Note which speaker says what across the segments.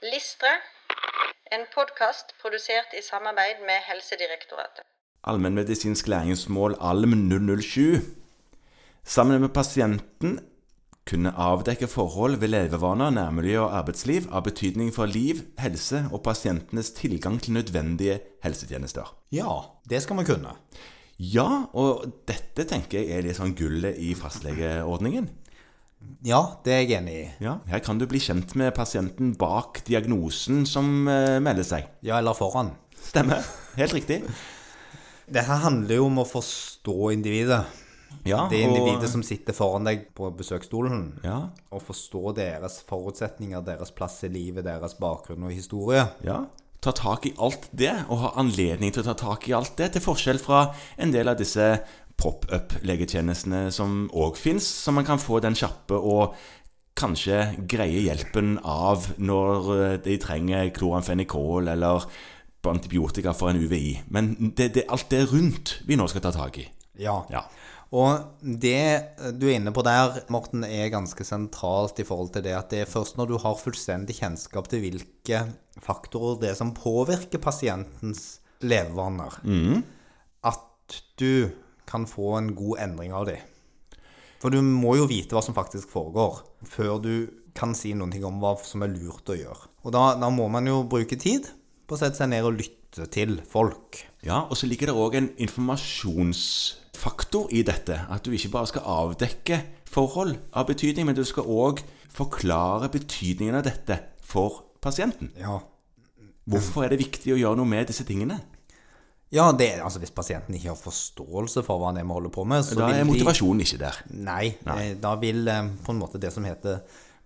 Speaker 1: Listre, en podkast produsert i samarbeid med Helsedirektoratet.
Speaker 2: Allmennmedisinsk læringsmål ALM 007. Sammen med pasienten kunne avdekke forhold ved levevaner, nærmiljø og arbeidsliv av betydning for liv, helse og pasientenes tilgang til nødvendige helsetjenester.
Speaker 3: Ja, det skal vi kunne.
Speaker 2: Ja, og dette tenker jeg er litt sånn gullet i fastlegeordningen.
Speaker 3: Ja, det er jeg enig i.
Speaker 2: Ja, Her kan du bli kjent med pasienten bak diagnosen som eh, melder seg.
Speaker 3: Ja, eller foran.
Speaker 2: Stemmer. Helt riktig.
Speaker 3: Dette handler jo om å forstå individet.
Speaker 2: Ja,
Speaker 3: Det
Speaker 2: og-
Speaker 3: individet som sitter foran deg på besøksstolen.
Speaker 2: Ja,
Speaker 3: Å forstå deres forutsetninger, deres plass i livet, deres bakgrunn og historie.
Speaker 2: Ja, ta tak i alt det, og ha anledning til å ta tak i alt det, til forskjell fra en del av disse pop-up-legetjenestene som òg fins, som man kan få den kjappe og kanskje greie hjelpen av når eh, de trenger kloramfenikol eller antibiotika for en UVI. Men det er alt det rundt vi nå skal ta tak i.
Speaker 3: Ja.
Speaker 2: Ja.
Speaker 3: Og det du er inne på der, Morten, er ganske sentralt i forhold til det at det er først når du har fullstendig kjennskap til hvilke faktorer det er som påvirker pasientens levevaner, at du kan få en god endring av de. For du må jo vite hva som faktisk foregår, før du kan si noen ting om hva som er lurt å gjøre. Og da, da må man jo bruke tid på å sette seg ned og lytte til folk.
Speaker 2: Ja, og så ligger det òg en informasjonsfaktor i dette. At du ikke bare skal avdekke forhold av betydning, men du skal òg forklare betydningen av dette for pasienten.
Speaker 3: Ja,
Speaker 2: Hvorfor er det viktig å gjøre noe med disse tingene?
Speaker 3: Ja, det, altså hvis pasienten ikke har forståelse for hva det er vi holder på med, så
Speaker 2: Da er
Speaker 3: vil de
Speaker 2: motivasjonen ikke der.
Speaker 3: Nei, eh, da vil eh, på en måte det som heter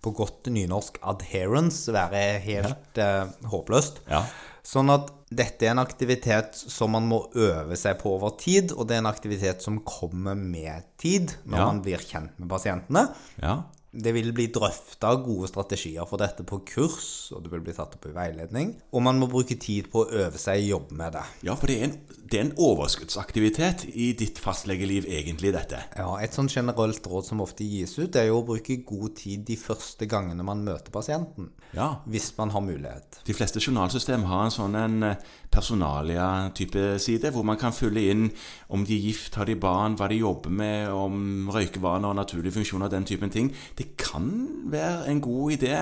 Speaker 3: på godt nynorsk 'adherence' være helt eh, håpløst.
Speaker 2: Ja.
Speaker 3: Sånn at dette er en aktivitet som man må øve seg på over tid, og det er en aktivitet som kommer med tid, når
Speaker 2: Ja.
Speaker 3: man blir kjent med pasientene.
Speaker 2: Ja.
Speaker 3: Det vil bli drøfta gode strategier for dette på kurs, og det vil bli tatt opp i veiledning. Og man må bruke tid på å øve seg og jobbe med det.
Speaker 2: ja, for det er, en, det er en overskuddsaktivitet i ditt fastlegeliv, egentlig, dette.
Speaker 3: Ja, Et sånn generelt råd som ofte gis ut, er jo å bruke god tid de første gangene man møter pasienten.
Speaker 2: Ja.
Speaker 3: Hvis man har mulighet.
Speaker 2: De fleste journalsystem har en sånn en eh, personalia-type side, hvor man kan fylle inn om de er gift, har de barn, hva de jobber med, om røykevaner og naturlige funksjoner, den typen ting. Det kan være en god idé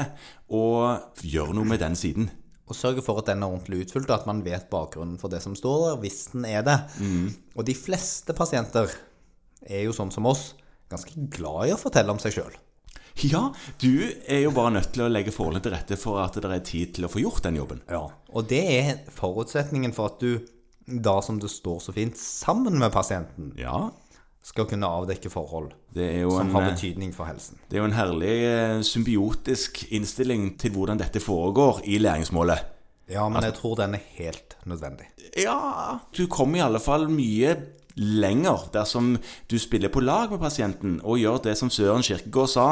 Speaker 2: å gjøre noe med den siden.
Speaker 3: Og sørge for at den er ordentlig utfylt, og at man vet bakgrunnen for det som står der, hvis den er det.
Speaker 2: Mm.
Speaker 3: Og de fleste pasienter er jo sånn som oss, ganske glad i å fortelle om seg sjøl.
Speaker 2: Ja, du er jo bare nødt til å legge forholdene til rette for at det er tid til å få gjort den jobben.
Speaker 3: Ja. Og det er forutsetningen for at du da, som det står så fint, sammen med pasienten
Speaker 2: Ja,
Speaker 3: skal kunne avdekke forhold
Speaker 2: det er jo
Speaker 3: som
Speaker 2: en,
Speaker 3: har
Speaker 2: eh,
Speaker 3: betydning for helsen.
Speaker 2: det er jo en herlig eh, symbiotisk innstilling til hvordan dette foregår i læringsmålet.
Speaker 3: Ja, men
Speaker 2: altså
Speaker 3: jeg tror den er helt nødvendig.
Speaker 2: Ja, du kommer i alle fall mye lenger dersom du spiller på lag med pasienten og gjør det som Søren Kirkegaard sa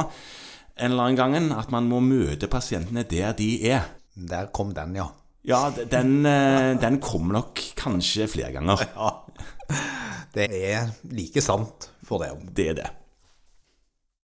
Speaker 2: en eller annen gangen, at man må møte pasientene der de er.
Speaker 3: Der kom den, ja.
Speaker 2: Ja, d- den, eh, den kom nok kanskje flere ganger.
Speaker 3: Det er like sant for det.
Speaker 2: Det er det.